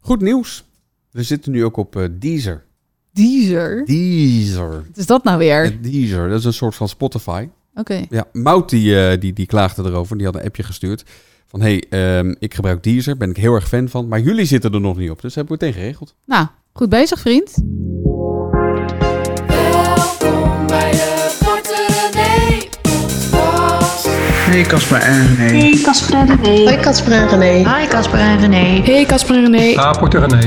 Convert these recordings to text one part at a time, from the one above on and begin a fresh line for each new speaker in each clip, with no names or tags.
Goed nieuws. We zitten nu ook op eh, Deezer.
Deezer?
Deezer.
Wat is dat nou weer?
En Deezer, dat is een soort van Spotify.
Oké.
Ja, Mout die, eh, die, die klaagde erover. Die had een appje gestuurd. Van, hé, hey, ehm, ik gebruik Deezer. Ben ik heel erg fan van. Maar jullie zitten er nog niet op. Dus hebben we het meteen geregeld.
Nou, goed bezig, vriend.
Welkom bij de Korte René Podcast.
Nee, Casper en René.
Hey Casper en René.
Hoi Casper en René.
Hi Casper en René.
Hey Casper en René.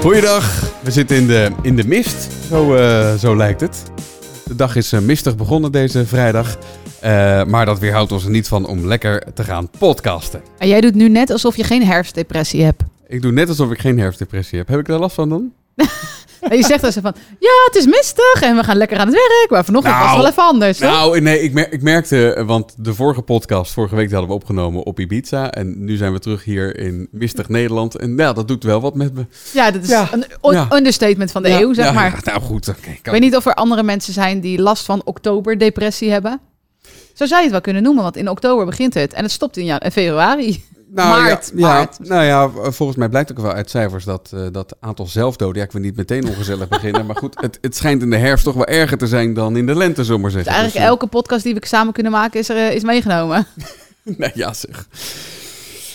Goeiedag. We zitten in de, in de mist. Zo, eh, zo lijkt het. De dag is eh, mistig begonnen deze vrijdag. Eh, maar dat weerhoudt ons er niet van om lekker te gaan podcasten.
En jij doet nu net alsof je geen herfstdepressie hebt.
Ik doe net alsof ik geen herfstdepressie heb. Heb ik daar last van dan?
En je zegt dan zo van, ja, het is mistig en we gaan lekker aan het werk. Maar vanochtend
Nou,
was het wel even anders, hoor.
Nou, nee, ik, mer- ik merkte, eh, want de vorige podcast, vorige week die hadden we opgenomen op Ibiza. En nu zijn we terug hier in mistig Nederland. En nou, dat doet wel wat met me.
ja, dat is
ja,
een on-
ja.
understatement van de
Ja,
eeuw, zeg
ja,
maar.
ja, nou goed, oké. kan-
Ik weet niet of er andere mensen zijn die last van oktoberdepressie hebben. Zo zou je het wel kunnen noemen, want in oktober begint het. En het stopt in jan- eh, februari.
Nou,
Maart,
ja, ja,
maart.
nou ja, v- volgens mij blijkt ook wel uit cijfers dat eh, dat aantal zelfdoden. Ja, ik wil niet meteen ongezellig beginnen. Maar goed, het, het schijnt in de herfst toch wel erger te zijn dan in de lente, zullen we maar
Dus
zeggen.
eigenlijk
Dus,
elke podcast die we samen kunnen maken is, er, eh, is meegenomen.
eh, nou ja, zeg.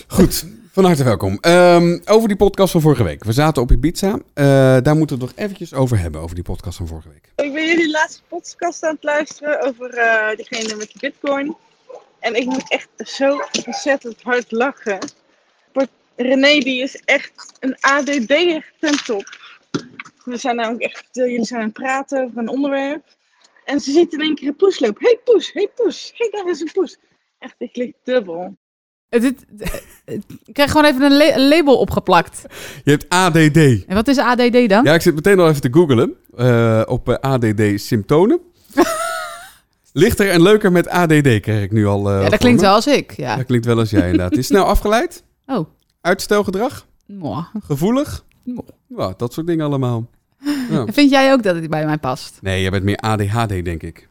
Goed. Van harte welkom. Ehm, over die podcast van vorige week. We zaten op Ibiza. Eh daar moeten we het nog eventjes over hebben, over die podcast van vorige week.
Ik ben jullie laatste podcast aan het luisteren over eh, diegene met de bitcoin. En ik moet echt zo ontzettend hard lachen. Want René die is echt een ADD'er ten top. We zijn namelijk echt, eh, jullie zijn aan het praten over een onderwerp. En ze ziet in één keer een poes lopen. hey, poes, hey, poes, hey, daar is een poes. Echt, ik klik dubbel.
Het, het, het- ik krijg gewoon even een, la- een label opgeplakt.
Je hebt ADD.
En wat is ADD dan?
Ja, ik zit meteen al even te googlen eh, op eh, ADD-symptomen. Lichter en leuker met ADD kreeg ik nu al. eh,
Ja,
voor
dat klinkt
me.
wel als ik. Ja.
Dat klinkt wel als jij inderdaad. Is snel afgeleid,
Oh,
uitstelgedrag,
mooi.
gevoelig.
Mooi.
Ja, dat soort dingen allemaal. Ja.
Vind jij ook dat het bij mij past?
Nee, jij bent meer ADHD, denk ik.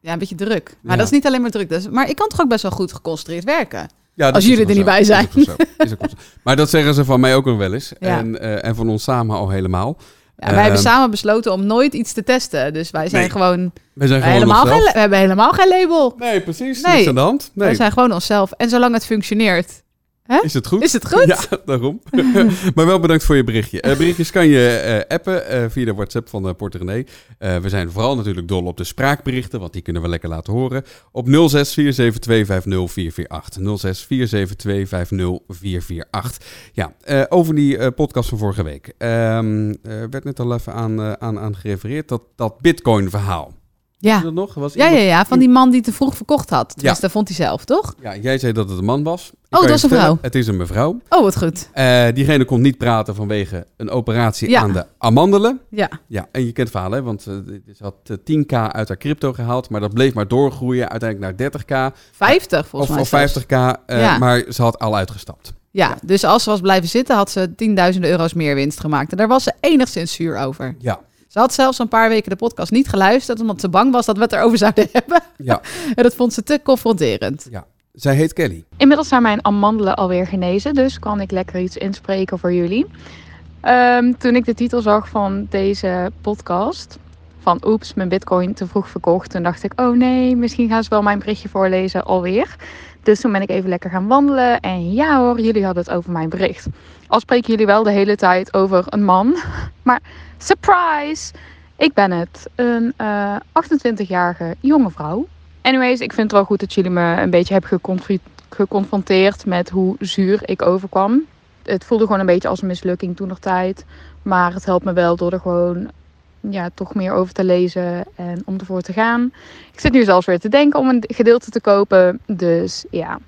Ja, een beetje druk. Maar
Ja.
dat is niet alleen maar druk. Dat is- maar ik kan toch ook best wel goed geconcentreerd werken.
Ja, dat
Als
is
jullie
ook
er
wel
niet
zo.
bij
Is ook wel zo. Is ook wel zo. Maar dat zeggen ze van mij ook nog wel eens.
Ja.
En, eh, en van ons samen al helemaal.
Ja, wij hebben
Ehm.
samen besloten om nooit iets te testen. Dus wij zijn
Nee.
gewoon...
We zijn
wij
gewoon
helemaal
onszelf.
geen, we hebben helemaal geen label.
Nee, precies.
Nee.
Niks aan de hand.
Wij
Nee,
zijn gewoon onszelf. En zolang het functioneert,
is het goed?
is het goed.
Ja, daarom. maar wel bedankt voor je berichtje. Eh, berichtjes kan je eh, appen eh, via de WhatsApp van eh Porter René. Eh, we zijn vooral natuurlijk dol op de spraakberichten, want die kunnen we lekker laten horen. Op 0647250448. 0647250448. Ja, eh, over die eh, podcast van vorige week. Ehm eh, werd net al even aan, eh, aan, aan gerefereerd, dat, dat bitcoin-verhaal. Is
Ja.
dat nog? Was
Ah. Ja, ja,
iemand-
ja. Van die man die te vroeg verkocht had. Tenminste,
Ja.
dat vond hij zelf, toch?
Ja, jij zei dat het een man was. Ik kan
Oh, het
je
was een
vertellen,
vrouw.
Het is een mevrouw.
Oh, wat goed.
Eh, diegene kon niet praten vanwege een operatie
Ja.
aan de amandelen.
Ja.
Ja, en je kent het verhaal, hè? Want eh, ze had eh, 10k uit haar crypto gehaald, maar dat bleef maar doorgroeien. Uiteindelijk naar 30k
50
of,
volgens mij.
of
zelfs.
50k, eh,
Ja.
maar ze had al uitgestapt.
Ja, dus als ze was blijven zitten, had ze tienduizenden euro's meer winst gemaakt. En daar was ze enigszins zuur over.
Ja,
Ze had zelfs een paar weken de podcast niet geluisterd, omdat ze bang was dat we het erover zouden hebben.
ja,
En dat vond ze te confronterend.
ja. Zij heet Kelly.
Inmiddels zijn mijn amandelen alweer genezen, dus kan ik lekker iets inspreken voor jullie. Ehm, toen ik de titel zag van deze podcast, van Oeps, mijn bitcoin te vroeg verkocht, toen dacht ik, oh nee, misschien gaan ze wel mijn berichtje voorlezen alweer. Dus toen ben ik even lekker gaan wandelen en ja hoor, jullie hadden het over mijn bericht. Al spreken jullie wel de hele tijd over een man, maar surprise, ik ben het, een eh, 28-jarige jonge vrouw. Anyways, ik vind het wel goed dat jullie me een beetje hebben geconfronteerd geconfronteerd met hoe zuur ik overkwam. Het voelde gewoon een beetje als een mislukking toen nog tijd. Maar het helpt me wel door er gewoon ja, toch meer over te lezen en om ervoor te gaan. Ik zit nu zelfs weer te denken om een gedeelte te kopen. Dus ja,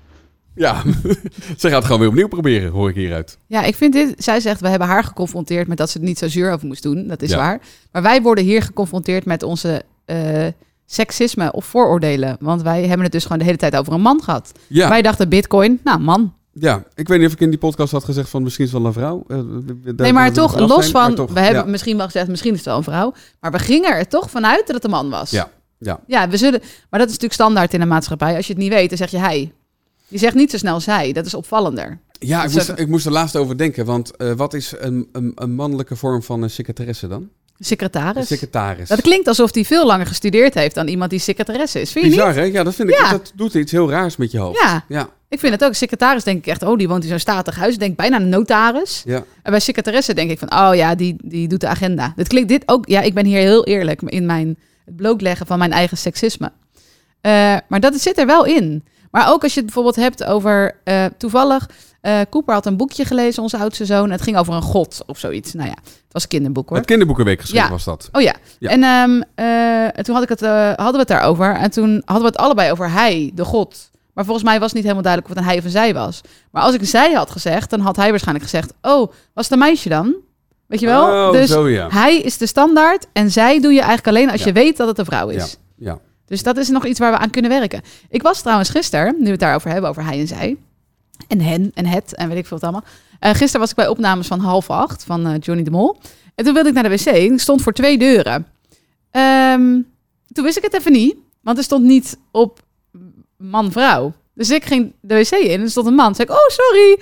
Ja, ze gaat het gewoon weer opnieuw proberen, hoor ik hieruit.
Ja, ik vind dit. Zij zegt, we hebben haar geconfronteerd met dat ze het niet zo zuur over moest doen. Dat is
Ja.
waar. Maar wij worden hier geconfronteerd met onze eh, seksisme of vooroordelen. Want wij hebben het dus gewoon de hele tijd over een man gehad.
Ja,
Wij dachten bitcoin, nou man.
ja, ik weet niet of ik in die podcast had gezegd van misschien is het wel een vrouw. Eh, daar-
nee, maar
daar-
toch,
daar-
los
zijn,
van,
maar toch,
we hebben
ja.
misschien wel gezegd, misschien is het wel een vrouw. Maar we gingen er toch vanuit dat het een man was.
Ja, ja.
Ja, we zullen, maar dat is natuurlijk standaard in de maatschappij. Als je het niet weet, dan zeg je hij. Je zegt niet zo snel zij, dat is opvallender.
Ja, ik
Dat
moest,
is
ik moest er laatst over denken. Want eh, wat is een, een, een mannelijke vorm van een secretaresse dan? Een
Secretaris.
secretaris.
Dat klinkt alsof hij veel langer gestudeerd heeft dan iemand die secretaresse is. Vind je
Bizar, hè? Ja, dat vind ik.
Ja.
Dat doet iets heel raars met je hoofd.
niet? Ja,
Ja,
ik vind het ook. Secretaris denk ik echt, oh, die woont in zo'n statig huis. Ik Denk bijna een notaris.
ja.
En bij secretaresse denk ik van, oh ja, die, die doet de agenda. Dit klinkt dit ook, ja, ik ben hier heel eerlijk in mijn het blootleggen van mijn eigen seksisme. Eh, maar dat zit er wel in. Maar ook als je het bijvoorbeeld hebt over, eh, toevallig, eh Cooper had een boekje gelezen, onze oudste zoon. Het ging over een god of zoiets. Nou ja, het was een kinderboek hoor.
Het kinderboekenweek geschreven
Ja.
was dat.
Oh ja.
Ja.
En ehm, eh, toen had ik het, eh, hadden we het daarover. En toen hadden we het allebei over hij, de god. Maar volgens mij was niet helemaal duidelijk wat een hij of een zij was. Maar als ik een zij had gezegd, dan had hij waarschijnlijk gezegd... Oh, was het een meisje dan? Weet je wel?
Oh,
dus
zo ja.
hij is de standaard en zij doe je eigenlijk alleen als
Ja.
je weet dat het een vrouw
Ja,
is.
ja.
Dus dat is nog iets waar we aan kunnen werken. Ik was trouwens gisteren, nu we het daarover hebben, over hij en zij. En hen en het en weet ik veel wat allemaal. Eh gisteren was ik bij opnames van half acht van eh, Johnny de Mol. En toen wilde ik naar de wc. en Ik stond voor twee deuren. Ehm, toen wist ik het even niet, want er stond niet op man-vrouw. Dus ik ging de wc in en er stond een man. Toen zei ik, oh sorry,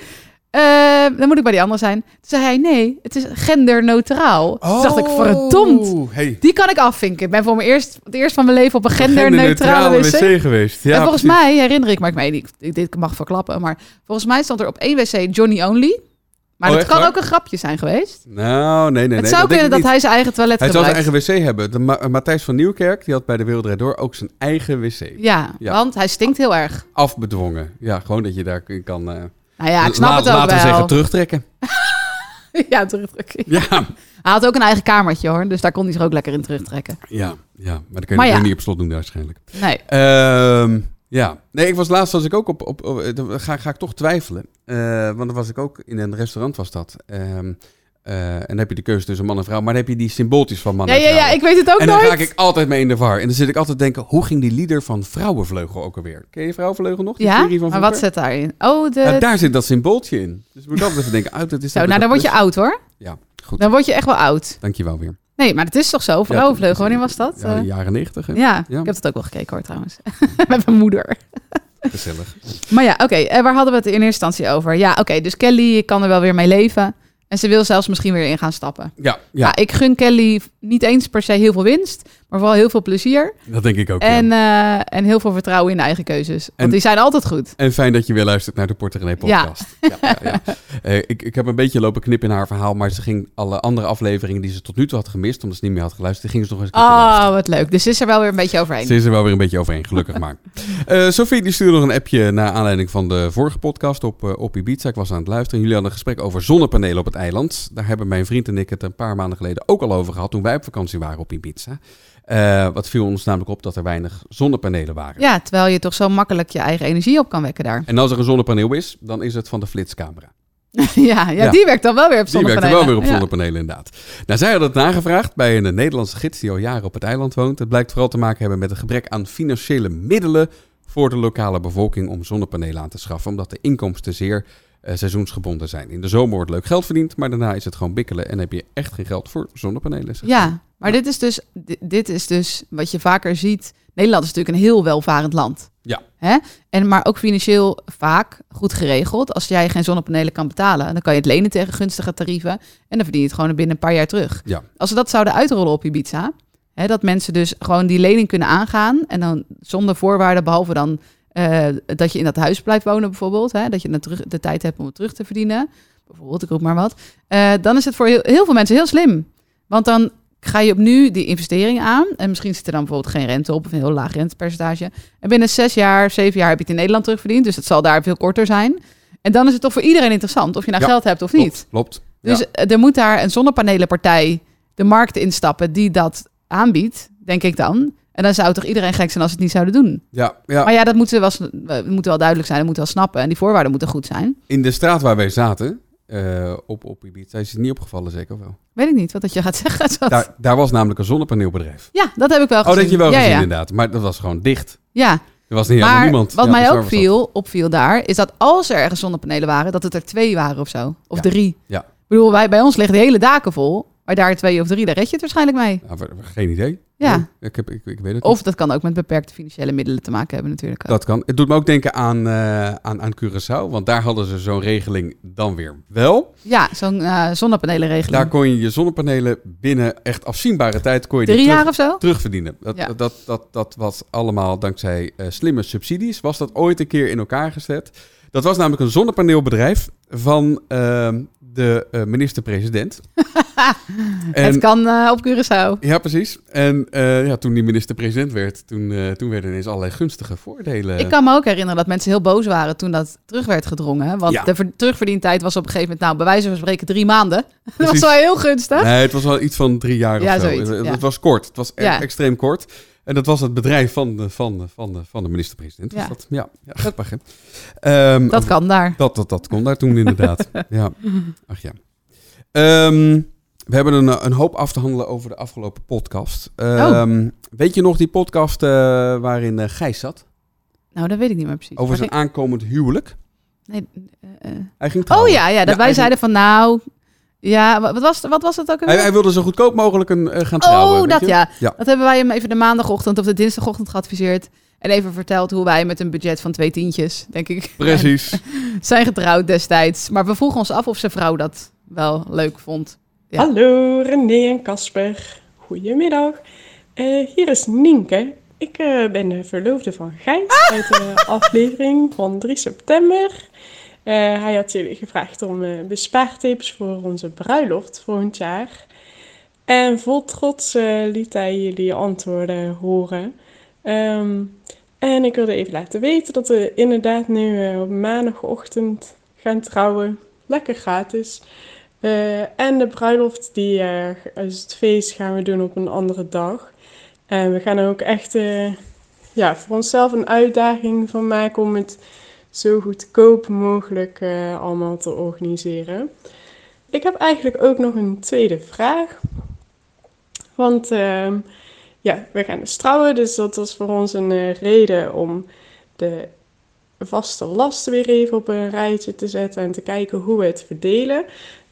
Eh, dan moet ik bij die ander zijn. Toen zei hij, nee, het is genderneutraal. Toen dacht
Oh.
ik, verdomd.
Hey,
Die kan ik afvinken. Ik ben voor mijn eerst, het eerst van mijn leven op een genderneutrale
genderneutrale
wc.
wc geweest. Ja,
en volgens
precies.
mij, herinner ik me, ik, meen, ik, ik- dit mag verklappen, maar volgens mij stond er op één wc Johnny Only. Maar
Oh,
dat
echt
kan
waar?
ook een grapje zijn geweest.
Nou, nee, nee, nee.
het zou
denk ik
kunnen dat
niet.
hij zijn eigen toilet
Hij zou zijn
gebruikt.
eigen wc hebben. De Ma- eh, Matthijs van Nieuwkerk, die had bij de Wereld Draait Door ook zijn eigen wc.
Ja,
Ja.
want hij stinkt heel erg.
Afbedwongen. Ja, gewoon dat je daar kun- kan... eh,
Nou ja, ik snap
la-
het ook
Laten we
wel.
zeggen, terugtrekken.
ja, terugdrukking.
Ja,
Hij had ook een eigen kamertje hoor, dus daar kon hij zich ook lekker in terugtrekken.
ja, ja. Maar dan kun je
Maar
de deur
ja.
niet op slot doen waarschijnlijk.
Nee.
Ehm, ja, nee, ik was laatst was ik ook op, op, op- dan ga, ga ik toch twijfelen. Eh, want dan was ik ook in een restaurant was dat. Ehm, eh, en dan heb je de keuze tussen man en vrouw, maar dan heb je die symbooltjes van man
Ja,
en
ja,
vrouw.
ja, ik weet het ook
nou. en dan
nooit.
raak ik altijd mee in de war. En dan zit ik altijd te denken, hoe ging die lieder van Vrouwenvleugel ook alweer? Ken je Vrouwenvleugel nog? Die
ja,
serie van
maar wat
vroeger?
zit daarin? Oh, de...
Ja, daar zit dat symbooltje in. Dus moet ik altijd even denken, uit, dat is...
Zo, nou dan word je oud hoor.
dus. Ja, goed.
Dan word je echt wel oud.
Dankjewel weer.
Nee, maar het is toch zo? Vrouwenvleugel, wanneer was dat?
Ja,
Eh,
jaren negentig, hè?
Ja,
Ja.
ik heb dat ook wel gekeken hoor trouwens. Met mijn moeder.
Gezellig.
Maar ja, oké, eh, waar hadden we het in eerste instantie over? Ja, oké, dus Kelly kan er wel weer mee leven. En ze wil zelfs misschien weer in gaan stappen.
Ja,
Ja.
ja,
Nou, ik gun Kelly niet eens per se heel veel winst, maar vooral heel veel plezier.
dat denk ik ook. ja.
Ah, En, eh, en heel veel vertrouwen in de eigen keuzes. Want
En-
die zijn altijd goed.
En fijn dat je weer luistert naar de Porter René podcast. Ja. Ja, ja, Eh, ik, ik heb een beetje lopen knip in haar verhaal, maar ze ging alle andere afleveringen die ze tot nu toe had gemist, omdat ze niet meer had geluisterd, die ging ze nog eens een keer
Oh,
luisteren.
wat leuk. Dus ze is er wel weer een beetje overheen.
Ze is er wel weer een beetje overheen, gelukkig maar. Eh Sophie die stuurde nog een appje naar aanleiding van de vorige podcast op, eh, op Ibiza. Ik was aan het luisteren. Jullie hadden een gesprek over zonnepanelen op het eiland. Daar hebben mijn vriend en ik het een paar maanden geleden ook al over gehad toen wij op vakantie waren op Ibiza. Eh, wat viel ons namelijk op dat er weinig zonnepanelen waren.
Ja, terwijl je toch zo makkelijk je eigen energie op kan wekken daar.
En als er een zonnepaneel is, dan is het van de flitscamera.
ja, ja,
Ja.
die werkt dan wel weer op
Die werkte
zonnepanelen.
wel weer op
Ja.
zonnepanelen, inderdaad. Nou, zij hadden het nagevraagd bij een Nederlandse gids die al jaren op het eiland woont. Het blijkt vooral te maken hebben met een gebrek aan financiële middelen voor de lokale bevolking om zonnepanelen aan te schaffen, omdat de inkomsten zeer eh, seizoensgebonden zijn. In de zomer wordt leuk geld verdiend, maar daarna is het gewoon bikkelen en heb je echt geen geld voor zonnepanelen. zegt ze.
Ja, maar Dit, is dus, di- dit is dus wat je vaker ziet. Nederland is natuurlijk een heel welvarend land.
Ja.
Hè? En maar ook financieel vaak goed geregeld. Als jij geen zonnepanelen kan betalen, dan kan je het lenen tegen gunstige tarieven. En dan verdien je het gewoon binnen een paar jaar terug.
Ja.
Als ze dat zouden uitrollen op Ibiza, hè, dat mensen dus gewoon die lening kunnen aangaan. En dan zonder voorwaarden, behalve dan eh, dat je in dat huis blijft wonen bijvoorbeeld. Hè, dat je dan terug, de tijd hebt om het terug te verdienen. Bijvoorbeeld, ik roep maar wat. Eh, dan is het voor heel, heel veel mensen heel slim. Want dan ga je opnieuw die investering aan. En misschien zit er dan bijvoorbeeld geen rente op of een heel laag rentepercentage. En binnen zes jaar, zeven jaar heb je het in Nederland terugverdiend. Dus het zal daar veel korter zijn. En dan is het toch voor iedereen interessant of je nou
Ja,
geld hebt of
Klopt,
niet.
Klopt.
Dus
Ja.
eh, er moet daar een zonnepanelenpartij de markt instappen die dat aanbiedt, denk ik dan. En dan zou toch iedereen gek zijn als ze het niet zouden doen.
Ja, ja.
Maar ja, dat moet, wel, sn- eh, moet wel duidelijk zijn, dat moet wel snappen. En die voorwaarden moeten goed zijn.
In de straat waar wij zaten, eh, op, op Ibiza, is het niet opgevallen zeker of wel?
Weet ik niet wat dat je gaat zeggen. Zat.
Daar, daar was namelijk een zonnepaneelbedrijf.
Ja, dat heb ik wel
Oh,
gezien.
dat heb je wel
ja,
gezien
ja.
inderdaad, maar dat was gewoon dicht.
Ja,
Er was niet helemaal
maar
niemand.
wat
Ja,
mij
bizar
ook
was dat.
viel, opviel daar, is dat als er ergens zonnepanelen waren, dat het er twee waren of zo. Of
Ja.
drie.
Ja.
Ik bedoel, wij, bij ons liggen de hele daken vol. Maar daar twee of drie, daar red je het waarschijnlijk mee.
Nou, we- we- geen idee.
Ja.
Nee, Ik, heb, ik, ik weet het
Of
niet.
dat kan ook met beperkte financiële middelen te maken hebben natuurlijk.
Dat kan. Het doet me ook denken aan, eh, aan, aan Curaçao. Want daar hadden ze zo'n regeling dan weer wel.
Ja, zo'n eh zonnepanelenregeling.
Daar kon je je zonnepanelen binnen echt afzienbare tijd kon je die
Drie
terug-
jaar of zo?
terugverdienen. Dat,
Ja.
dat, dat, dat was allemaal dankzij eh, slimme subsidies. Was dat ooit een keer in elkaar gezet? Dat was namelijk een zonnepaneelbedrijf van ehm, de eh, minister-president.
Het kan eh, op Curaçao.
Ja, precies. En eh, ja, toen die minister-president werd, toen, eh, toen werden ineens allerlei gunstige voordelen. eh,
Ik kan me ook herinneren dat mensen heel boos waren toen dat terug werd gedrongen. Want
Ja.
de ver- terugverdientijd was op een gegeven moment, nou, bij wijze van spreken drie maanden. Dat was
Precies.
wel heel gunstig.
Nee, het was wel iets van drie jaar
Ja,
of zo.
zoiets,
het, het
ja.
was kort. Het was echt
Ja.
extreem kort. En dat was het bedrijf van de, van de, van de, van de minister-president. Ja.
Ja.
Dat, ja, ja, grappig, hè? Ehm,
Dat kan daar.
Dat, dat, dat kon daar toen inderdaad. ja. Ach ja. Ehm, we hebben een, een hoop af te handelen over de afgelopen podcast.
Oh.
Ehm, Weet je nog die podcast eh, waarin eh, Gijs zat?
Nou, dat weet ik niet meer precies.
Over
Maar
zijn aankomend huwelijk.
ik- nee, eh, eh.
Hij ging
Oh
trouwen.
ja, ja dat wij
hij-
zeiden van nou... Ja, wa- wat was, wat was dat ook
Hij,
alweer?
hij wilde zo goedkoop mogelijk een, eh, gaan trouwen.
oh,
weet
dat
je?
ja.
Ja.
Dat hebben wij hem even de maandagochtend of de dinsdagochtend geadviseerd. En even verteld hoe wij met een budget van twee tientjes, denk ik,
Precies.
zijn getrouwd destijds. Maar we vroegen ons af of zijn vrouw dat wel leuk vond. Ja.
Hallo René en Casper. Goedemiddag. Eh, hier is Nienke. Ik eh, ben de verloofde van Gijs uit eh, de aflevering van 3 september. Eh, hij had jullie gevraagd om eh, bespaartips voor onze bruiloft volgend jaar. En vol trots eh, liet hij jullie antwoorden horen. Ehm, en ik wilde even laten weten dat we inderdaad nu eh, op maandagochtend gaan trouwen. Lekker gratis. Eh, en de bruiloft, die, eh, dus het feest, gaan we doen op een andere dag. En we gaan er ook echt eh, ja, voor onszelf een uitdaging van maken om het zo goedkoop mogelijk eh, allemaal te organiseren. Ik heb eigenlijk ook nog een tweede vraag. Want ehm, ja, we gaan dus trouwen, dus dat was voor ons een eh, reden om de vaste lasten weer even op een rijtje te zetten en te kijken hoe we het verdelen.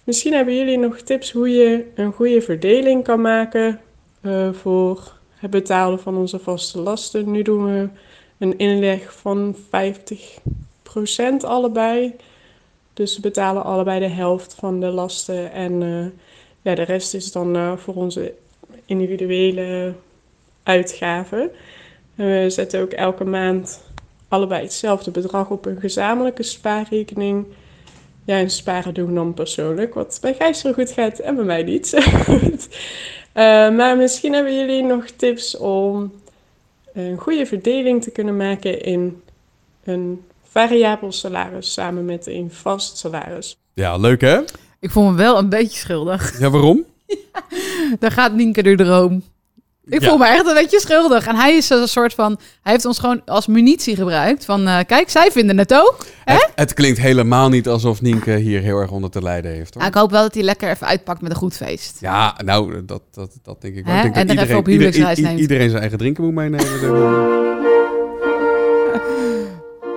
Misschien hebben jullie nog tips hoe je een goede verdeling kan maken eh, voor het betalen van onze vaste lasten. Nu doen we een inleg van 50% allebei. Dus we betalen allebei de helft van de lasten. En eh, ja, de rest is dan eh, voor onze individuele uitgaven. En we zetten ook elke maand allebei hetzelfde bedrag op een gezamenlijke spaarrekening. Ja, en sparen doen we dan persoonlijk, wat bij Gijs zo goed gaat en bij mij niet. Goed. Eh, maar misschien hebben jullie nog tips om een goede verdeling te kunnen maken in een variabel salaris samen met een vast salaris.
Ja, leuk hè?
Ik voel me wel een beetje schuldig.
Ja, waarom?
Daar gaat Nienke de droom. Ik
Ja.
voel me echt een beetje schuldig. En hij is een soort van... Hij heeft ons gewoon als munitie gebruikt. Van, eh, kijk, zij vinden het ook.
Het, het klinkt helemaal niet alsof Nienke hier heel erg onder te lijden heeft. Hoor.
Nou, ik hoop wel dat hij lekker even uitpakt met een goed feest.
Ja, nou, dat, dat, dat denk ik wel.
Hè?
Ik denk dat
En er even op
ieder-
huwelijksreis
i- i-
neemt.
iedereen zijn eigen drinken moet meenemen. dus. zeg maar.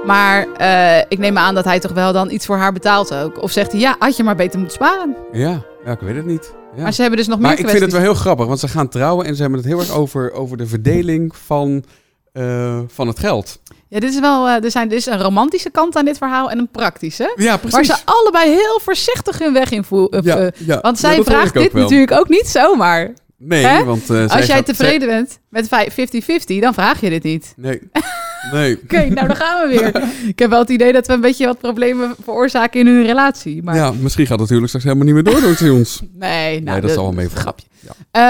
Maar eh, ik neem aan dat hij toch wel dan iets voor haar betaalt ook. Of zegt hij, ja, had je maar beter moeten sparen.
ja, ja, ik weet het niet. Ja.
Maar ze hebben dus nog
Maar
meer
ik vind het
kwesties.
wel heel grappig, want ze gaan trouwen en ze hebben het heel erg over, over de verdeling van, eh, van het geld.
Ja, dit is wel, eh, er, zijn, er is een romantische kant aan dit verhaal en een praktische.
Ja,
Waar ze allebei heel voorzichtig hun weg in voeren.
Ja, ja.
Want
Ja,
zij
dat hoor
vraagt
ik ook
dit
wel.
natuurlijk ook niet zomaar.
Nee,
Hè?
want... eh, zij
Als jij
gaat-
tevreden bent met vij- 50-50, dan vraag je dit niet.
zij- nee, nee.
Oké, nou dan gaan we weer. ik heb wel het idee dat we een beetje wat problemen veroorzaken in hun relatie. Maar
Ja, misschien gaat het huwelijk straks helemaal niet meer door door ons.
nee, nou,
nee, dat is allemaal mee voor.
grapje. Eh,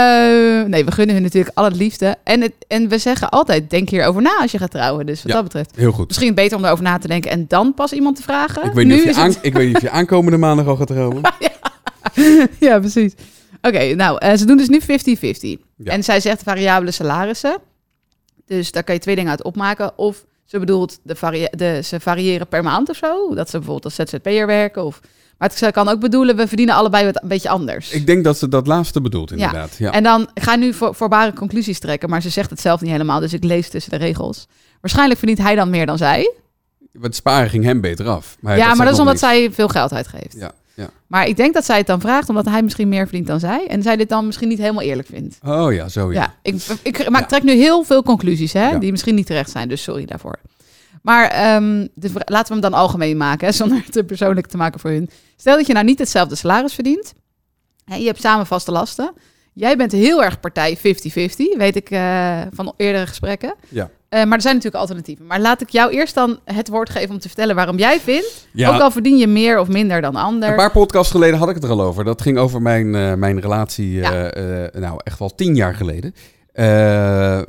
nee, we gunnen hun natuurlijk al het liefde. En, het, en we zeggen altijd, denk hierover na als je gaat trouwen. Dus wat
Ja.
dat betreft.
Heel goed.
Misschien beter om daarover na te denken en dan pas iemand te vragen.
Ik weet, niet
nu
of je
is het-
aan- ik weet niet of je aankomende maandag al gaat trouwen.
Ja, precies. Oké, nou, eh, ze doen dus nu 50-50.
Ja.
En zij zegt variabele salarissen. Dus daar kan je twee dingen uit opmaken. Of ze bedoelt, de varie- de, ze variëren per maand of zo. Dat ze bijvoorbeeld als ZZP'er werken. Of, maar het ze kan ook bedoelen, we verdienen allebei wat een beetje anders.
Ik denk dat ze dat laatste bedoelt, inderdaad. Ja.
En dan ik ga nu voor, voorbare conclusies trekken. Maar ze zegt het zelf niet helemaal, dus ik lees tussen de regels. Waarschijnlijk verdient hij dan meer dan zij.
Want sparen ging hem beter af. Maar
ja,
dat
maar dat
zegt nog
is omdat zij veel geld uitgeeft.
Ja. Ja.
Maar ik denk dat zij het dan vraagt omdat hij misschien meer verdient dan zij. En zij dit dan misschien niet helemaal eerlijk vindt.
Oh ja, zo ja.
Ja, ik, ik, maar
Ja.
ik trek nu heel veel conclusies hè,
Ja.
die misschien niet terecht zijn. Dus sorry daarvoor. Maar ehm, de vra- laten we hem dan algemeen maken, hè, zonder het te persoonlijk te maken voor hun. Stel dat je nou niet hetzelfde salaris verdient. Hè, je hebt samen vaste lasten. Jij bent heel erg partij 50-50, weet ik eh, van eerdere gesprekken.
Ja.
Eh, maar er zijn natuurlijk alternatieven. Maar laat ik jou eerst dan het woord geven om te vertellen waarom jij vindt.
Ja,
Ook al verdien je meer of minder dan
Een
ander.
paar podcasts geleden had ik het er al over. Dat ging over mijn, eh, mijn relatie, eh, eh, nou echt wel tien jaar geleden. Eh, eh,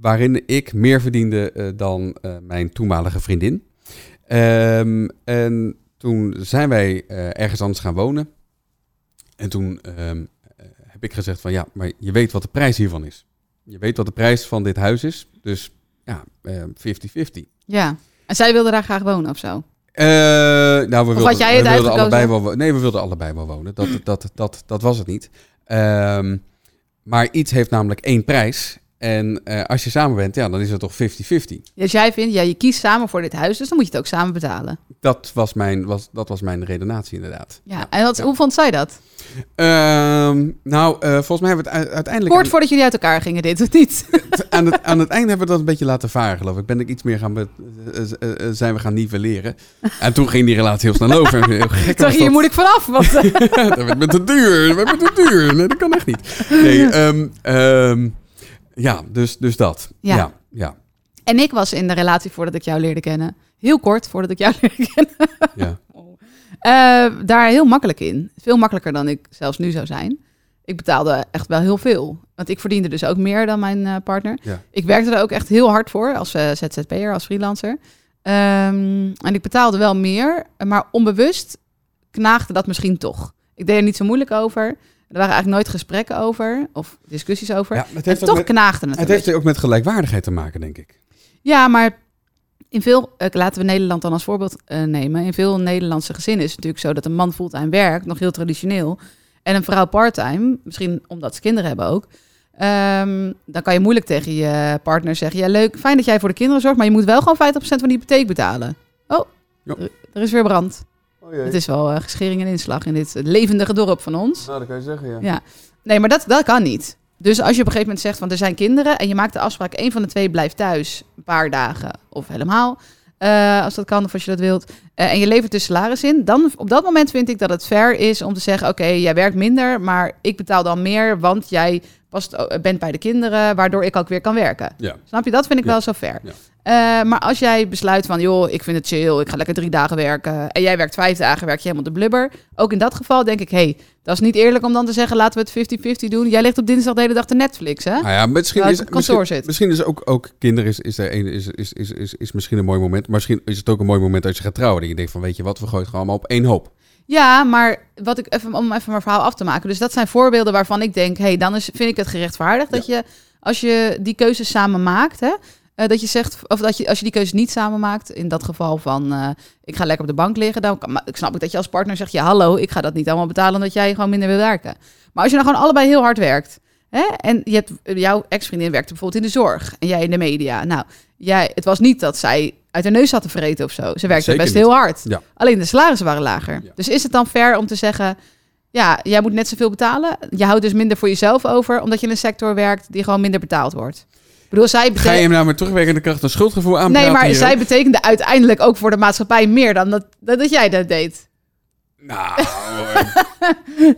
waarin ik meer verdiende eh, dan eh, mijn toenmalige vriendin. Ehm, en toen zijn wij eh, ergens anders gaan wonen. En toen ehm, eh, heb ik gezegd van ja, maar je weet wat de prijs hiervan is. Je weet wat de prijs van dit huis is. Dus ja, eh, 50-50.
Ja. En zij wilde daar graag wonen of zo.
Eh, nou, we wilden,
had jij het
we wilden
uitgekozen?
allebei wel wo- Nee, we wilden allebei wel wonen. Dat, dat, dat, dat was het niet. Ehm, maar iets heeft namelijk één prijs. En eh, als je samen bent, ja, dan is het toch 50-50.
Dus jij vindt, ja, je kiest samen voor dit huis, dus dan moet je het ook samen betalen.
Dat was mijn, was, dat was mijn redenatie inderdaad.
Ja. En wat, hoe vond zij dat?
Ehm, nou, eh, volgens mij hebben we het u- uiteindelijk...
Kort voordat jullie uit elkaar gingen, dit of niet?
aan het, aan het einde hebben we dat een beetje laten varen, geloof ik. Ben ik iets meer gaan... be- eh, eh, eh, zijn we gaan nivelleren. En toen ging die relatie heel snel over. Heel gek
Toch,
was
hier
dat.
moet ik vanaf. Want, eh,
dat werd me te duur. Dat werd me te duur. Nee, dat kan echt niet. Nee, ehm, ehm, ja, dus, dus dat.
Ja.
Ja. ja,
en ik was in de relatie voordat ik jou leerde kennen. Heel kort voordat ik jou leerde kennen.
ja.
Eh, daar heel makkelijk in. Veel makkelijker dan ik zelfs nu zou zijn. Ik betaalde echt wel heel veel. Want ik verdiende dus ook meer dan mijn eh, partner.
Ja.
Ik werkte er ook echt heel hard voor als eh, ZZP'er, als freelancer. Ehm, en ik betaalde wel meer, maar onbewust knaagde dat misschien toch. Ik deed er niet zo moeilijk over. Er waren eigenlijk nooit gesprekken over of discussies over.
Ja, het
en
heeft, ook
toch
met,
knaagde het.
het
een
heeft ook met gelijkwaardigheid te maken, denk ik.
ja, maar in veel, eh, laten we Nederland dan als voorbeeld eh, nemen. In veel Nederlandse gezinnen is het natuurlijk zo dat een man fulltime werkt, nog heel traditioneel. En een vrouw parttime, misschien omdat ze kinderen hebben ook. ehm, dan kan je moeilijk tegen je partner zeggen: Ja, leuk, fijn dat jij voor de kinderen zorgt, maar je moet wel gewoon 50% van die hypotheek betalen. Oh,
Ja. Oh,
er, er is weer brand. Het is wel eh, geschering en inslag in dit levendige dorp van ons.
Nou, dat kan je zeggen, ja.
Nee, maar dat, dat kan niet. Dus als je op een gegeven moment zegt, want er zijn kinderen... en je maakt de afspraak, één van de twee blijft thuis een paar dagen of helemaal... eh, als dat kan of als je dat wilt... eh, en je levert dus salaris in... dan op dat moment vind ik dat het fair is om te zeggen... oké, jij werkt minder, maar ik betaal dan meer... want jij past, o- bent bij de kinderen, waardoor ik ook weer kan werken.
Ja.
Snap je? Dat vind ik
Ja.
wel zo fair.
Ja.
Eh, maar als jij besluit van, joh, ik vind het chill, ik ga lekker drie dagen werken... en jij werkt vijf dagen, werk je helemaal de blubber. Ook in dat geval denk ik, hey, dat is niet eerlijk om dan te zeggen, laten we het 50-50 doen. Jij ligt op dinsdag de hele dag te Netflix, hè?
Nou ja, misschien
Terwijl
is,
ik op kantoor
misschien,
zit.
misschien is ook, ook kinderen is, is, er een, is, is, is, is, is misschien een mooi moment. Maar misschien is het ook een mooi moment als je gaat trouwen. Dat je denkt van, weet je wat, we gooien het gewoon allemaal op één hoop.
Ja, maar wat ik even, om even mijn verhaal af te maken. Dus dat zijn voorbeelden waarvan ik denk, hey, dan is, vind ik het gerechtvaardigd dat je, als je die keuzes samen maakt, hè, eh, dat je zegt, of dat je, als je die keuze niet samen maakt, in dat geval van, eh, ik ga lekker op de bank liggen, dan kan, maar ik snap ik dat je als partner zegt, ja, hallo, ik ga dat niet allemaal betalen omdat jij gewoon minder wil werken. Maar als je nou gewoon allebei heel hard werkt, hè, en je hebt, eh, jouw ex-vriendin werkte bijvoorbeeld in de zorg en jij in de media. Nou, jij, het was niet dat zij uit haar neus zat te vreten of zo. Ze werkte
Zeker
best
niet.
heel hard.
Ja.
Alleen de salarissen waren lager.
Ja.
Dus is het dan fair om te zeggen... ja, jij moet net zoveel betalen. Je houdt dus minder voor jezelf over... omdat je in een sector werkt die gewoon minder betaald wordt. Ik bedoel, zij
Ga je
betekent...
hem nou met terugwerkende kracht een schuldgevoel aanpraten?
Nee, maar
hier?
zij betekende uiteindelijk ook voor de maatschappij... meer dan dat, dat, dat jij dat deed.
Nou, eh,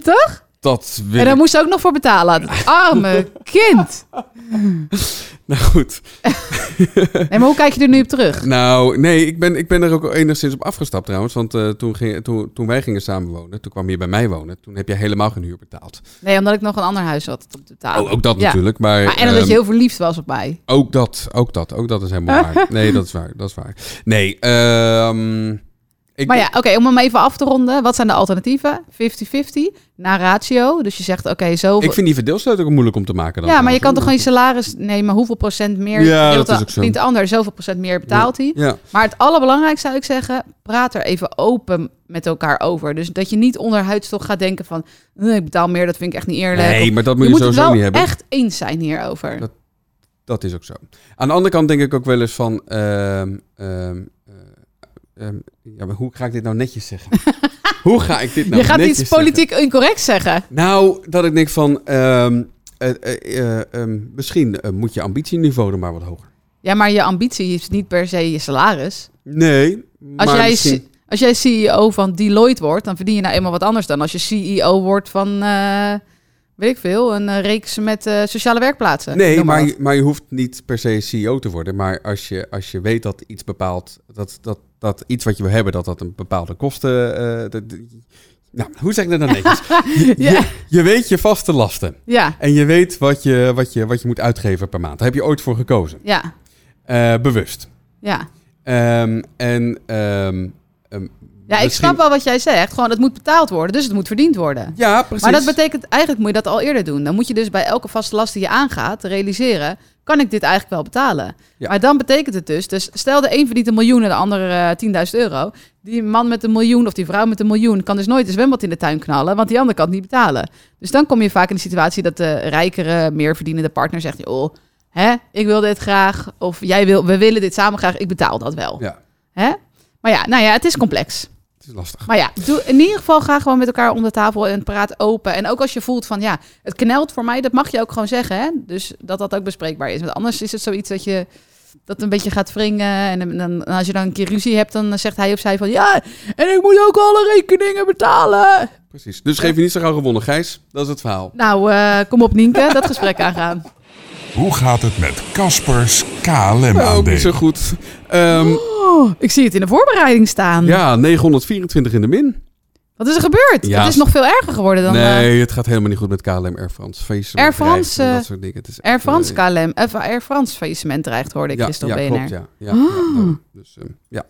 Toch?
dat wil
En
ik
daar moest ze ook nog voor betalen. Dat Arme kind.
Nou goed.
Nee, maar hoe kijk je er nu op terug?
Nou, nee, ik ben, ik ben er ook enigszins op afgestapt trouwens. Want eh, toen, ging, toen, toen wij gingen samenwonen, toen kwam je bij mij wonen. Toen heb jij helemaal geen huur betaald.
Nee, omdat ik nog een ander huis had om te betalen.
Oh, ook dat
Ja.
natuurlijk. Maar,
Maar en omdat
ehm,
je heel verliefd was op mij.
ook dat, ook dat, ook dat is helemaal waar. Nee, dat is waar, dat is waar. Nee, ehm, ik,
Maar ja, oké, om hem even af te ronden. Wat zijn de alternatieven? 50-50, na ratio. Dus je zegt, oké, zoveel...
ik vind die verdeelsleutel ook moeilijk om te maken. Dan
Ja, maar je kan toch gewoon
trouwens,
je salaris nemen. Hoeveel procent meer
Ja,
verdient
dat
de-
is ook zo.
verdient de ander? Zoveel procent meer betaalt hij.
hoor. Ja,
Maar het allerbelangrijkste zou ik zeggen, praat er even open met elkaar over. Dus dat je niet onderhuids toch gaat denken van, "Eh, ik betaal meer, dat vind ik echt niet eerlijk.
nee, maar dat
je
moet je,
moet het
sowieso
wel
niet hebben.
echt eens zijn hierover.
Dat- Dat is ook zo. Aan de andere kant denk ik ook wel eens van... ehm, ehm, eh, ehm, ja, maar hoe ga ik dit nou netjes zeggen? Hoe ga ik dit nou
je gaat
netjes
iets politiek incorrect zeggen.
zeggen? Nou, dat ik denk van... ehm, eh, eh, eh, ehm, misschien eh, moet je ambitieniveau er maar wat hoger.
Ja, maar je ambitie is niet per se je salaris.
Nee,
Als,
maar
jij,
misschien-
als jij CEO van Deloitte wordt, dan verdien je nou eenmaal wat anders dan als je CEO wordt van, eh, weet ik veel, een eh, reeks met eh, sociale werkplaatsen.
Nee,
Noem
maar
wat.
je, maar je hoeft niet per se CEO te worden. Maar als je, als je weet dat iets bepaalt, dat, dat, dat iets wat je wil hebben, dat dat een bepaalde kosten. eh, dat- dat- nou, hoe zeg ik dat nou netjes? Je,
Ja.
je weet je vaste lasten.
Ja,
En je weet wat je, wat, je, wat je moet uitgeven per maand. Daar heb je ooit voor gekozen.
ja,
Eh, bewust.
ja.
Ehm, en. ehm, ehm,
Ja, ik
misschien-
snap wel wat jij zegt. Gewoon, het moet betaald worden, dus het moet verdiend worden.
Ja, precies.
Maar dat betekent, eigenlijk moet je dat al eerder doen. Dan moet je dus bij elke vaste last die je aangaat realiseren, kan ik dit eigenlijk wel betalen?
Ja.
Maar dan betekent het dus, dus stel de een verdient een miljoen en de ander eh 10.000 euro. Die man met een miljoen of die vrouw met een miljoen kan dus nooit een zwembad in de tuin knallen, want die ander kan het niet betalen. Dus dan kom je vaak in de situatie dat de rijkere, meer verdienende partner zegt, oh, hè, ik wil dit graag, of jij wil, we willen dit samen graag, ik betaal dat wel.
Ja,
Hè? Maar ja, nou ja, het is complex.
het is lastig.
Maar ja, doe, in ieder geval ga gewoon met elkaar om de tafel en praat open. En ook als je voelt van ja, het knelt voor mij, dat mag je ook gewoon zeggen. Hè? Dus dat dat ook bespreekbaar is. Want anders is het zoiets dat je dat een beetje gaat wringen. En, dan- dan, en als je dan een keer ruzie hebt, dan zegt hij of zij van ja, en ik moet ook alle rekeningen betalen.
Precies. Dus geef je niet zo gauw gewonnen, Gijs. Dat is het verhaal.
Nou, eh, kom op Nienke, dat gesprek aangaan.
Hoe gaat het met Caspers
Ook niet Oh, zo
KLM-aandelen?
goed. Ehm,
Oh, ik zie het in de voorbereiding staan.
ja, 924 in de min.
Wat is er gebeurd?
Ja.
Het is nog veel erger geworden dan eh,
nee, het gaat helemaal niet goed met KLM Air France. Faillissement
Air France,
bedrijf en
eh,
dat soort dingen. Het is
Air
echt,
France
eh,
KLM, eh, Air France faillissement dreigt, hoorde ik
ja,
gisteren op
ja,
BNR.
klopt, ja, ja,
Oh.
ja, daarom. dus, ehm, ja.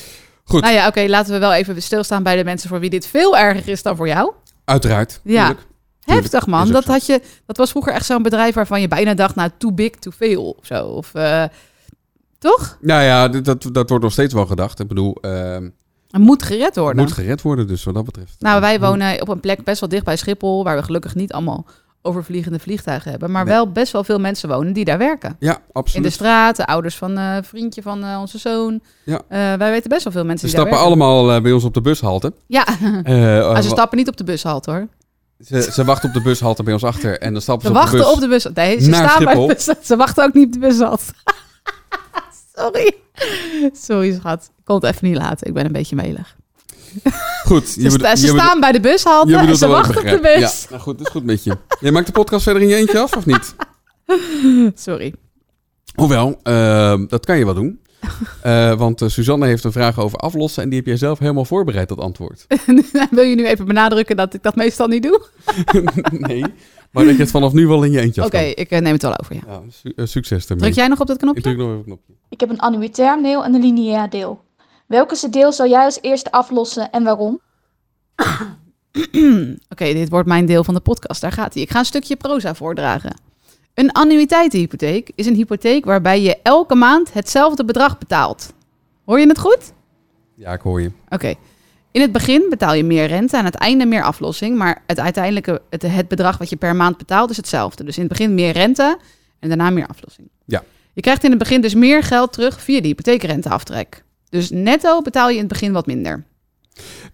Goed.
Nou ja, oké, laten we wel even stilstaan bij de mensen voor wie dit veel erger is dan voor jou.
Uiteraard.
Ja.
tuurlijk.
Heftig
is
man,
ook
dat,
zo.
had je, dat was vroeger echt zo'n bedrijf waarvan je bijna dacht, nou, too big, too veel of zo. Of, eh, toch?
Nou ja, d- dat, dat wordt nog steeds wel gedacht. Ik bedoel, ehm
Het moet gered worden.
moet gered worden dus wat dat betreft.
Nou, wij
Hm.
wonen op een plek best wel dicht bij Schiphol, waar we gelukkig niet allemaal overvliegende vliegtuigen hebben, maar
Nee.
wel best wel veel mensen wonen die daar werken.
Ja,
In de
absoluut.
straat, de ouders van eh, een vriendje van eh, onze zoon.
Ja.
Eh, wij weten best wel veel mensen
Ze
die daar
stappen
werken.
allemaal eh, bij ons op de bushalte.
Ja,
Eh, eh,
maar ze
wa-
stappen niet op de bushalte hoor.
ze, ze wachten op de bushalte bij ons achter en dan stappen
Ze
ze,
wachten
op de bus.
op de bus. Nee, ze
Naar
staan bij de
Schiphol.
bus. Ze wachten ook niet op de bus zat. Sorry. Sorry, schat. Ik kon het even niet laten. Ik ben een beetje melig.
Goed,
Ze, sta- Dus ze
bedoelt-
staan bij de bushalte en
bedoelt
ze
dat wel, ik
wachten op de
begrijp.
bus.
Ja, nou goed, dat is goed met je. Jij maakt de podcast verder in je eentje af, of niet?
Sorry.
Hoewel, ehm, dat kan je wel doen. Eh, want eh, Suzanne heeft een vraag over aflossen en die heb jij zelf helemaal voorbereid, dat antwoord.
Wil je nu even benadrukken dat ik dat meestal niet doe? Oké,
nee, maar dat je het vanaf nu wel in je eentje af kan.
ik eh, neem het wel over. Ja.
Ja, su- eh, succes ermee.
Druk jij nog op dat knopje?
Ik druk nog even op het knopje.
Ik heb een annuitair deel en een lineair deel. Welke deel zou jij als eerste aflossen en waarom?
Oké, dit wordt mijn deel van de podcast. Daar gaat hij. Ik ga een stukje proza voordragen. Een annuïteitenhypotheek is een hypotheek waarbij je elke maand hetzelfde bedrag betaalt. Hoor je het goed?
Ja, ik hoor je.
Oké. In het begin betaal je meer rente, aan het einde meer aflossing. Maar het uiteindelijke het, het bedrag wat je per maand betaalt is hetzelfde. Dus in het begin meer rente en daarna meer aflossing.
Ja.
Je krijgt in het begin dus meer geld terug via de hypotheekrenteaftrek. Dus netto betaal je in het begin wat minder.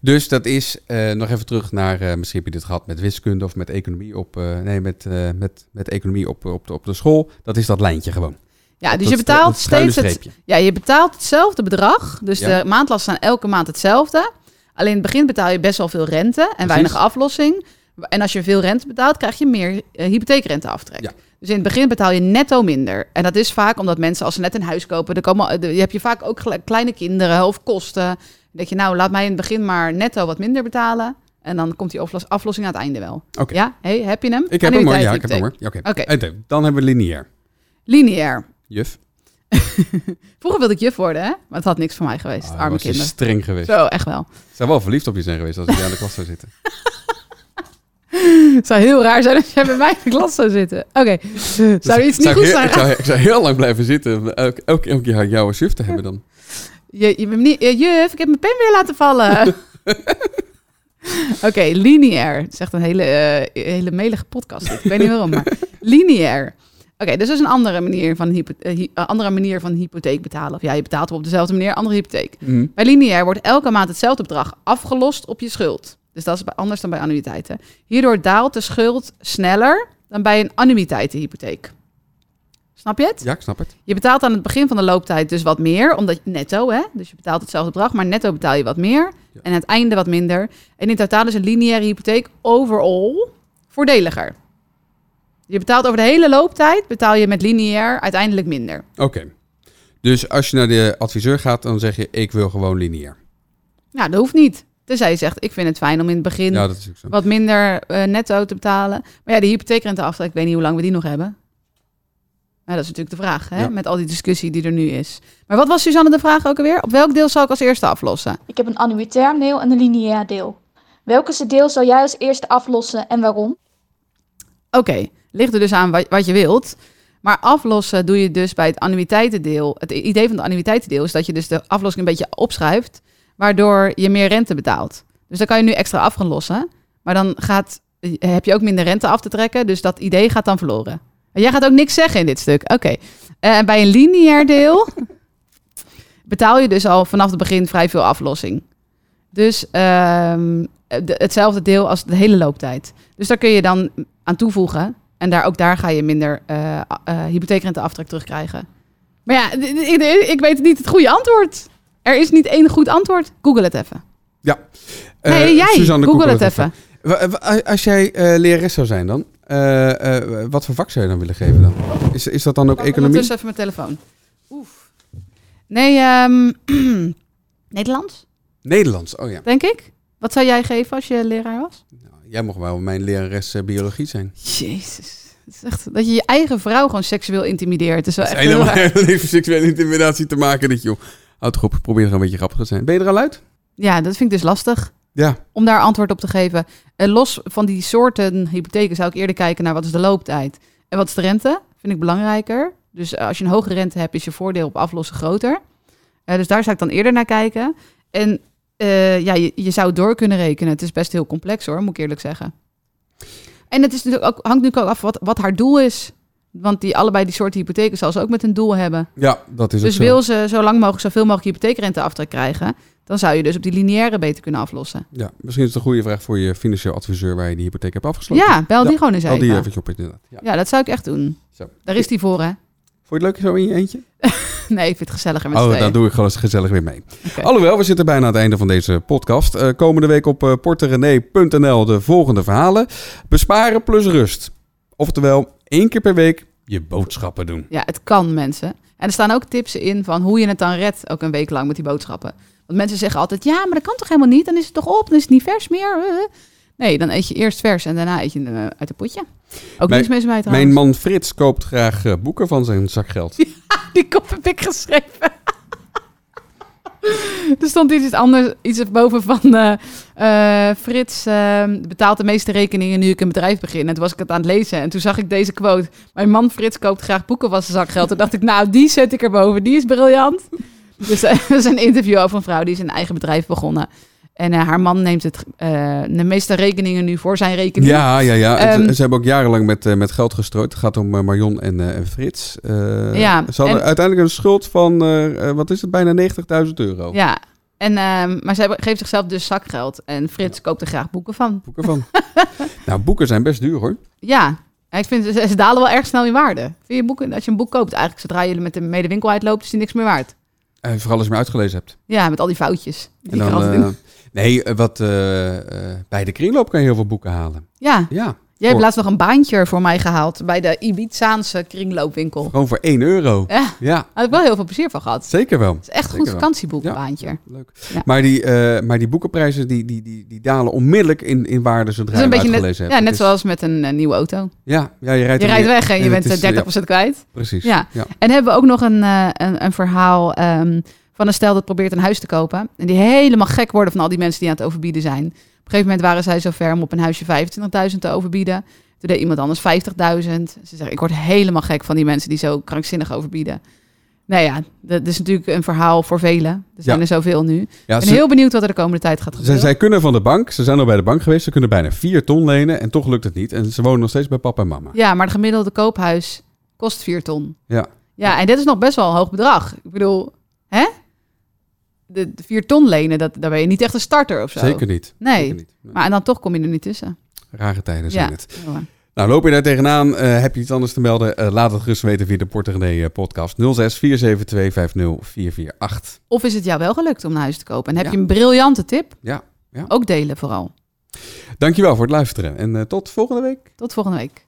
Dus dat is, eh, nog even terug naar, eh, misschien heb je dit gehad met wiskunde of met economie op, eh, nee, met, eh, met, met economie op, op, de, op de school. Dat is dat lijntje gewoon.
Ja, dus
Dat-
je
dat-
betaalt
dat schuine
steeds het,
streepje.
ja, je betaalt hetzelfde bedrag. Dus
Ja.
de maandlasten zijn elke maand hetzelfde. Alleen in het begin betaal je best wel veel rente en weinig aflossing. En als je veel rente betaalt, krijg je meer eh, hypotheekrenteaftrek.
Ja.
Dus in het begin betaal je netto minder. En dat is vaak omdat mensen als ze net een huis kopen, dan komen, eh, de- heb je vaak ook gele- kleine kinderen of kosten. Dan denk je, nou, laat mij in het begin maar netto wat minder betalen. En dan komt die aflos- aflossing aan het einde wel.
Oké.
Ja, hey, heb je hem?
Ik heb hem hoor, ja, ik heb
Annuïteitshypotheek.
hem hoor. Ja, Oké,
Oké.
En dan hebben we lineair.
Lineair.
Juf,
Vroeger wilde ik juf worden, hè? Maar het had niks voor mij geweest.
Ah,
Arme
was je
kinderen.
streng geweest.
Zo, echt wel.
Zou wel verliefd op je zijn geweest als je aan de klas zou zitten.
Het zou heel raar zijn als jij bij mij in de klas zou zitten. Oké, zou er iets niet
Zou Dus ik,
goed
heel-
zijn?
ik, zou, ik zou heel lang blijven zitten. om Elke, elke, elke keer jou als juf te hebben dan.
Je, je bent niet, eh, juf, ik heb mijn pen weer laten vallen. Oké, lineair. Het is echt een hele, eh, hele melige podcast. dit. Ik weet niet waarom, maar lineair. dus dat is een andere manier, van hypo- eh, hy- eh, andere manier van hypotheek betalen. Of ja, je betaalt op dezelfde manier, andere hypotheek.
Mhm.
Bij lineair wordt elke maand hetzelfde bedrag afgelost op je schuld. Dus dat is bij- anders dan bij annuïteiten. Hierdoor daalt de schuld sneller dan bij een annuïteitenhypotheek. Snap je het?
Ja, ik snap het.
Je betaalt aan het begin van de looptijd dus wat meer, omdat je netto, hè? Dus je betaalt hetzelfde bedrag, maar netto betaal je wat meer. En aan het einde wat minder. En in totaal is een lineaire hypotheek overal voordeliger. Je betaalt over de hele looptijd, betaal je met lineair uiteindelijk minder.
Oké. Dus als je naar de adviseur gaat, dan zeg je: Ik wil gewoon lineair.
Nou, dat hoeft niet. Tenzij je zegt, ik vind het fijn om in het begin
Ja, dat is ook zo.
wat minder eh, netto te betalen. Maar ja, die hypotheekrenteaftrek, ik weet niet hoe lang we die nog hebben. Nou, dat is natuurlijk de vraag, hè?
Ja.
Met al die discussie die er nu is. Maar wat was Suzanne de vraag ook alweer? Op welk deel zal ik als eerste aflossen?
Ik heb een annuitair deel en een lineair deel. Welke deel zou jij als eerste aflossen en waarom?
Oké, ligt er dus aan wat, wat je wilt. Maar aflossen doe je dus bij het annuïteitendeel. Het idee van het annuïteitendeel is dat je dus de aflossing een beetje opschuift, waardoor je meer rente betaalt. Dus dan kan je nu extra af gaan lossen, maar dan gaat, eh, heb je ook minder rente af te trekken, dus dat idee gaat dan verloren. En jij gaat ook niks zeggen in dit stuk. Oké, Eh, bij een lineair deel betaal je dus al vanaf het begin vrij veel aflossing. Dus ehm, de- hetzelfde deel als de hele looptijd. Dus daar kun je dan aan toevoegen. En daar, ook daar ga je minder eh, a- eh, hypotheekrenteaftrek terugkrijgen. Maar ja, d- d- ik, ik weet niet het goede antwoord. Er is niet één goed antwoord. Google het even.
Ja.
Nee,
Eh,
jij.
Suzanne,
Google het even.
Wa- wa- Als jij eh, lerares zou zijn dan, eh, eh, wat voor vak zou je dan willen geven dan? Is, is dat dan ook economie?
Ondertussen dus even mijn telefoon. Oef. Nee, ehm, Nederlands,
Nederlands, oh ja.
denk ik. Wat zou jij geven als je leraar was?
Nou, Jij mocht wel mijn lerares eh, biologie zijn.
Jezus. Het is echt dat je je eigen vrouw gewoon seksueel intimideert. Het is wel
Het
echt
heeft
heel
helemaal
raar.
niks met seksuele intimidatie te maken, dit joh. Houd toch op, probeer gewoon een beetje grappig te zijn. Ben je er al uit?
Ja, dat vind ik dus lastig.
Ja.
om daar antwoord op te geven. En los van die soorten hypotheken zou ik eerder kijken naar wat is de looptijd en wat is de rente. Vind ik belangrijker. Dus eh, als je een hogere rente hebt, is je voordeel op aflossen groter. Eh, dus daar zou ik dan eerder naar kijken. En eh, ja, je, je zou door kunnen rekenen. Het is best heel complex hoor, moet ik eerlijk zeggen. En het is natuurlijk ook, hangt natuurlijk ook af wat, wat haar doel is. Want die, allebei die soorten hypotheken zal ze ook met een doel hebben.
Ja, dat is
Dus
ook zo.
wil ze zo lang mogelijk zoveel mogelijk hypotheekrenteaftrek krijgen, dan zou je dus op die lineaire beter kunnen aflossen.
Ja, misschien is het een goede vraag voor je financieel adviseur waar je die hypotheek hebt afgesloten.
Ja, bel die gewoon eens
Bel die
even.
eventjes op inderdaad. Ja.
Ja, dat zou ik echt doen.
Zo.
Daar is die voor, hè?
Vond je het leuk zo in je eentje?
Nee, ik vind het gezelliger met z'n
Oh,
tweeën.
dan doe ik gewoon eens gezellig weer mee.
Oké.
Alhoewel, we zitten bijna aan het einde van deze podcast. Eh, komende week op eh porterené.nl de volgende verhalen. Besparen plus rust. Oftewel, één keer per week je boodschappen doen.
Ja, het kan, mensen. En er staan ook tips in van hoe je het dan redt, ook een week lang met die boodschappen. Want mensen zeggen altijd, ja, maar dat kan toch helemaal niet? Dan is het toch op, dan is het niet vers meer. Eh. Nee, dan eet je eerst vers en daarna eet je hem eh, uit het potje. Ook
Mijn-
niks mis mee trouwens.
Mijn man Frits koopt graag eh, boeken van zijn zakgeld.
Die kop heb ik geschreven. er stond iets anders, iets boven van eh, eh, Frits eh, betaalt de meeste rekeningen nu ik een bedrijf begin. En toen was ik het aan het lezen en toen zag ik deze quote. Mijn man Frits koopt graag boeken was zijn zakgeld. Toen dacht ik, nou die zet ik erboven, die is briljant. Dus eh, dat is een interview over een vrouw die is een eigen bedrijf begonnen. En eh, haar man neemt het, eh, de meeste rekeningen nu voor zijn rekening.
Ja, ja, ja. En
Ehm,
ze, ze hebben ook jarenlang met, eh, met geld gestrooid. Het gaat om eh, Marion en, eh, en Frits. Eh,
Ja,
ze hadden
en-
uiteindelijk een schuld van, eh, eh, wat is het, bijna 90.000 euro.
Ja, en, ehm, maar ze hebben- geeft zichzelf dus zakgeld. En Frits koopt er graag boeken van.
Boeken van. nou, boeken zijn best duur hoor.
Ja, en ik vind ze, ze dalen wel erg snel in waarde. Vind je boeken, als je een boek koopt, eigenlijk zodra je er met de medewinkel uitloopt, is die niks meer waard.
En Eh, vooral als je me uitgelezen hebt.
Ja, met al die foutjes. Die
En
ik er
dan,
altijd
eh,
in-
nee, eh, wat, eh, eh, bij de kringloop kan je heel veel boeken halen.
Ja,
Ja,
jij hebt
voor-
laatst nog een baantje voor mij gehaald bij de Ibizaanse kringloopwinkel.
gewoon voor 1 euro.
Ja, daar
Ja,
had ik wel heel veel plezier van gehad.
zeker wel.
Het is echt een goed
Zeker wel.
vakantieboek,
Ja.
een baantje.
Leuk.
Ja.
Maar, die, eh, maar die boekenprijzen die, die, die, die dalen onmiddellijk in, in waarde zodra
Dat is
je hem
een beetje net,
uitgelezen hebt.
ja, net
Het is-
zoals met een eh, nieuwe auto.
Ja, ja, je rijdt,
Je
er
rijdt
weer-
weg en je
het
bent
is-
eh, 30% kwijt.
ja, precies.
Ja.
ja.
En hebben we ook nog een, eh, een, een verhaal ehm, van een stel dat probeert een huis te kopen. En die helemaal gek worden van al die mensen die aan het overbieden zijn. Op een gegeven moment waren zij zover om op een huisje 25.000 te overbieden. Toen deed iemand anders 50.000. Ze zeggen, ik word helemaal gek van die mensen die zo krankzinnig overbieden. Nou ja, dat is natuurlijk een verhaal voor velen. Er zijn
Ja.
er zoveel nu. Ik
Ja,
ben
ze-
heel benieuwd wat er de komende tijd gaat
Zij,
gebeuren.
zij kunnen van de bank, ze zijn al bij de bank geweest, ze kunnen bijna 4 ton lenen en toch lukt het niet. En ze wonen nog steeds bij papa en mama.
Ja, maar de gemiddelde koophuis Kost 4 ton.
Ja.
Ja, en dit is nog best wel een hoog bedrag. Ik bedoel, hè? De, de 4 ton lenen, dat, daar ben je niet echt een starter of zo.
Zeker niet.
Nee.
Zeker niet. Nee.
Maar en dan toch kom je er niet tussen.
Rare tijden zijn
ja.
het.
Ja, hoor.
Nou, loop je daar tegenaan, eh, heb je iets anders te melden, eh, laat het gerust weten via de Portegenee podcast 06 472 50448.
Of is het jou wel gelukt om een huis te kopen? En heb je een briljante tip?
Ja, ja.
Ook delen vooral.
Dankjewel voor het luisteren en eh, tot volgende week.
Tot volgende week.